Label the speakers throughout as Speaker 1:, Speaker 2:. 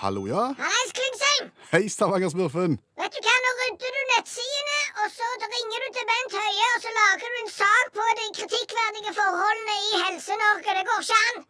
Speaker 1: Hallo, ja.
Speaker 2: Haralds Klingsheim,
Speaker 1: Hei, Stavanger-smurfen.
Speaker 2: vet du hva, nå rydder du nettsidene, og så ringer du til Bent Høie, og så lager du en sak på de kritikkverdige forholdene i Helse-Norge. Det går ikke an.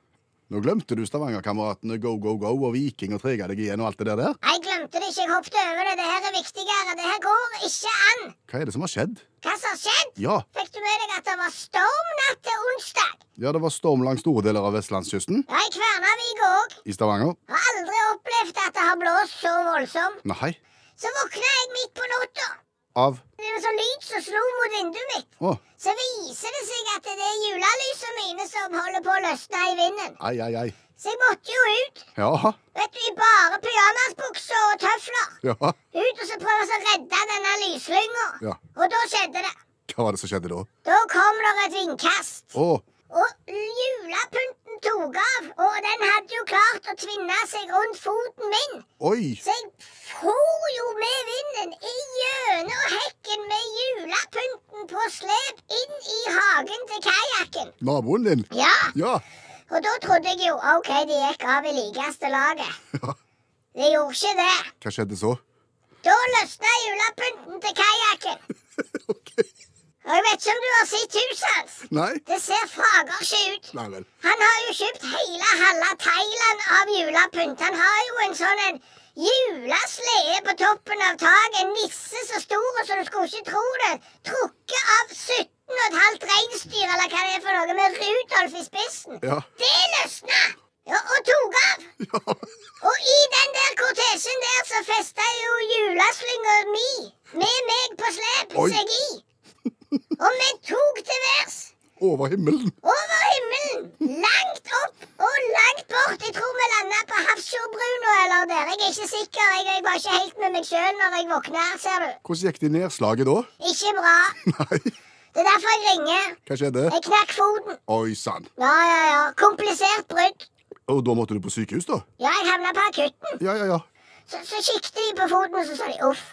Speaker 1: Nå glemte du Stavanger-kameratene Go Go Go og Viking og Trega deg igjen og alt det der der.
Speaker 2: Jeg glemte det ikke, jeg hoppet over det. Det her er viktigere. Det her går ikke an.
Speaker 1: Hva er det som har skjedd?
Speaker 2: Hva som har skjedd?
Speaker 1: Ja,
Speaker 2: Fikk du med deg at det var storm natt til onsdag?
Speaker 1: ja det var storm langs store deler av vestlandskysten.
Speaker 2: Ja, i Kværnavik òg.
Speaker 1: I Stavanger?
Speaker 2: Har aldri opplevd at det har blåst så voldsomt.
Speaker 1: Nei.
Speaker 2: Så våkna jeg midt på natta.
Speaker 1: Av
Speaker 2: Det var sånn lyd som slo mot vinduet mitt.
Speaker 1: Å,
Speaker 2: Så viser det seg at det er julelysene mine som holder på å løsne i vinden.
Speaker 1: ai, ai, ai.
Speaker 2: Så jeg måtte jo ut.
Speaker 1: Ja,
Speaker 2: Vet du, i bare pyjamasbukser og tøfler.
Speaker 1: ja.
Speaker 2: Ut og så prøve å redde denne lyslynga.
Speaker 1: Ja.
Speaker 2: Og da skjedde det.
Speaker 1: Hva var det som skjedde da?
Speaker 2: Da kom det et vindkast.
Speaker 1: Å,
Speaker 2: Og julepynten tok av. Og den hadde jo klart å tvinne seg rundt foten min.
Speaker 1: oi.
Speaker 2: Så jeg for jo med vinden i gjennom hekken med julepynten på slep inn i hagen til kajakken.
Speaker 1: Naboen din?
Speaker 2: Ja,
Speaker 1: Ja.
Speaker 2: og da trodde jeg jo OK, de gikk av i likeste laget.
Speaker 1: Ja.
Speaker 2: De gjorde ikke det.
Speaker 1: Hva skjedde så?
Speaker 2: Da løsna julepynten til kajakken.
Speaker 1: OK.
Speaker 2: Og jeg vet ikke om du har sett huset hans.
Speaker 1: Nei?
Speaker 2: Det ser fager ikke ut.
Speaker 1: Nei vel.
Speaker 2: Han har jo kjøpt hele halve Thailand av julepynt. Han har jo en sånn en juleslede på toppen av taket. En nisse så stor så du skulle ikke tro det. Trukket av 17 og et halvt reinsdyr eller hva det er for noe, med Rudolf i spissen.
Speaker 1: Ja.
Speaker 2: Det løsna! Ja, og tok av.
Speaker 1: Ja.
Speaker 2: Og i den der kortesjen der så festa jo juleslynga mi med meg på slep
Speaker 1: Oi.
Speaker 2: seg i. Og vi tok til værs
Speaker 1: Over himmelen.
Speaker 2: over himmelen, langt opp og langt bort. Jeg tror vi landa på Hafrsfjordbrua eller der. Jeg er ikke sikker. Jeg, jeg var ikke helt med meg sjøl når jeg våkna, ser du.
Speaker 1: Hvordan gikk det i nedslaget da?
Speaker 2: Ikke bra.
Speaker 1: Nei.
Speaker 2: Det er derfor jeg ringer.
Speaker 1: Hva skjedde?
Speaker 2: Jeg knakk foten.
Speaker 1: Oi sann.
Speaker 2: Ja, ja, ja. Komplisert brudd.
Speaker 1: Og da måtte du på sykehus, da?
Speaker 2: Ja, jeg havna på akutten.
Speaker 1: Ja, ja, ja.
Speaker 2: Så, så kikket de på foten, og så sa de uff.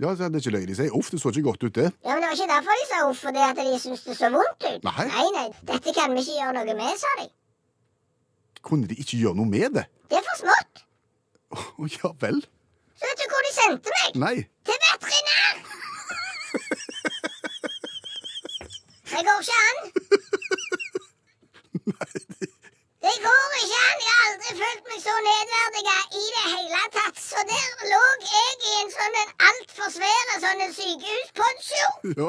Speaker 1: Ja, Det er ikke løgn. De sier uff, det så ikke godt ut, det.
Speaker 2: Ja, men Det var ikke derfor de sa uff, fordi at de syntes det så vondt ut.
Speaker 1: Nei.
Speaker 2: nei, nei, Dette kan vi ikke gjøre noe med, sa de.
Speaker 1: Kunne de ikke gjøre noe med det?
Speaker 2: Det er for smått.
Speaker 1: Å, ja vel.
Speaker 2: Så vet du hvor de sendte meg?
Speaker 1: Nei.
Speaker 2: Til veterinær! Det går ikke an. Det går ikke an. Jeg har aldri følt meg så nedverdiga i det hele tatt. Så der lå jeg i en sånn en altfor svær sånn en sykehusponsjo.
Speaker 1: Ja.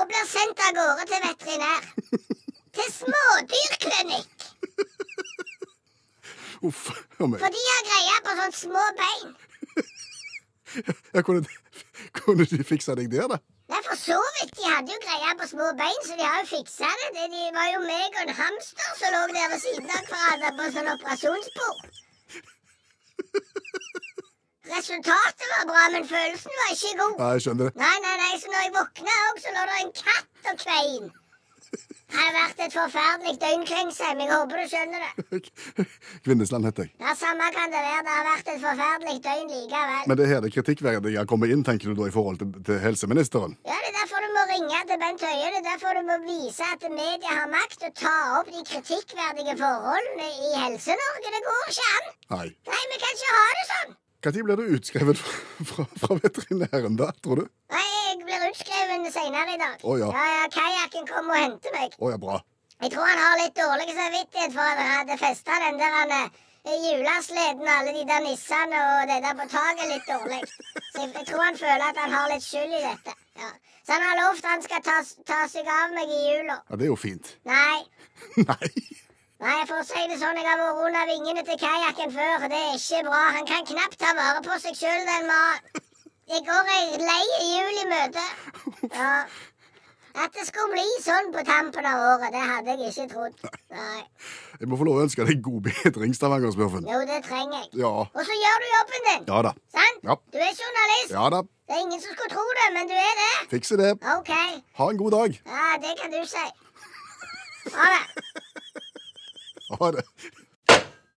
Speaker 2: og blir sendt av gårde til veterinær. Til smådyrklinikk,
Speaker 1: Uff. Ja, men.
Speaker 2: for de har greie på sånne små bein.
Speaker 1: Ja, kunne, de, kunne de fikse deg der, da?
Speaker 2: Nei, for så vidt, de hadde jo greie på små bein, så de har jo fiksa det. Det- De var jo meg og en hamster som lå der ved siden av hverandre på sånn operasjonsbord. Resultatet var bra, men følelsen var ikke god.
Speaker 1: Ja, jeg skjønner det.
Speaker 2: Nei, nei, nei, så når jeg våkna òg, så lå det en katt og kvein. Det har vært et forferdelig døgn, Klingsheim. Jeg håper du skjønner det.
Speaker 1: Kvinnesland heter jeg.
Speaker 2: Ja, samme kan det være. Det har vært et forferdelig døgn likevel.
Speaker 1: Men det er her det kritikkverdige kommer inn, tenker du da, i forhold til, til helseministeren?
Speaker 2: Ja, Det er derfor du må ringe til Bent Høie. Det er derfor du må vise at media har makt og ta opp de kritikkverdige forholdene i Helse-Norge. Det går ikke an.
Speaker 1: Nei.
Speaker 2: Nei, vi kan ikke ha det sånn.
Speaker 1: Når blir du utskrevet fra, fra, fra veterinæren, da, tror du?
Speaker 2: Nei, jeg blir utskrevet senere i dag.
Speaker 1: Å, ja.
Speaker 2: ja, ja Kajakken kom og hentet meg.
Speaker 1: Å ja, bra.
Speaker 2: Jeg tror han har litt dårlig samvittighet for at han hadde festa den der han, eh, julesleden og alle de der nissene og det der på taket litt dårlig. Så jeg, jeg tror han føler at han har litt skyld i dette. Ja. Så han har lovt han skal ta, s- ta seg av meg i jula.
Speaker 1: Ja, Det er jo fint.
Speaker 2: Nei.
Speaker 1: Nei.
Speaker 2: Nei, for å si det sånn, jeg har vært under vingene til kajakken før. Det er ikke bra. Han kan knapt ta vare på seg sjøl, den mannen. Det går ei lei jul i møte. Ja. At det skulle bli sånn på tampen av året, det hadde jeg ikke trodd. Nei.
Speaker 1: Jeg må få lov å ønske deg god bedring, Stavanger-smurfen.
Speaker 2: Jo, det trenger jeg.
Speaker 1: Ja.
Speaker 2: Og så gjør du jobben din.
Speaker 1: Ja da.
Speaker 2: Sant?
Speaker 1: Ja.
Speaker 2: Du er journalist.
Speaker 1: Ja da.
Speaker 2: Det er ingen som skulle tro det, men du er det.
Speaker 1: Fikse det.
Speaker 2: OK.
Speaker 1: Ha en god dag.
Speaker 2: Ja, det kan du si. Ha det.
Speaker 1: Ha det.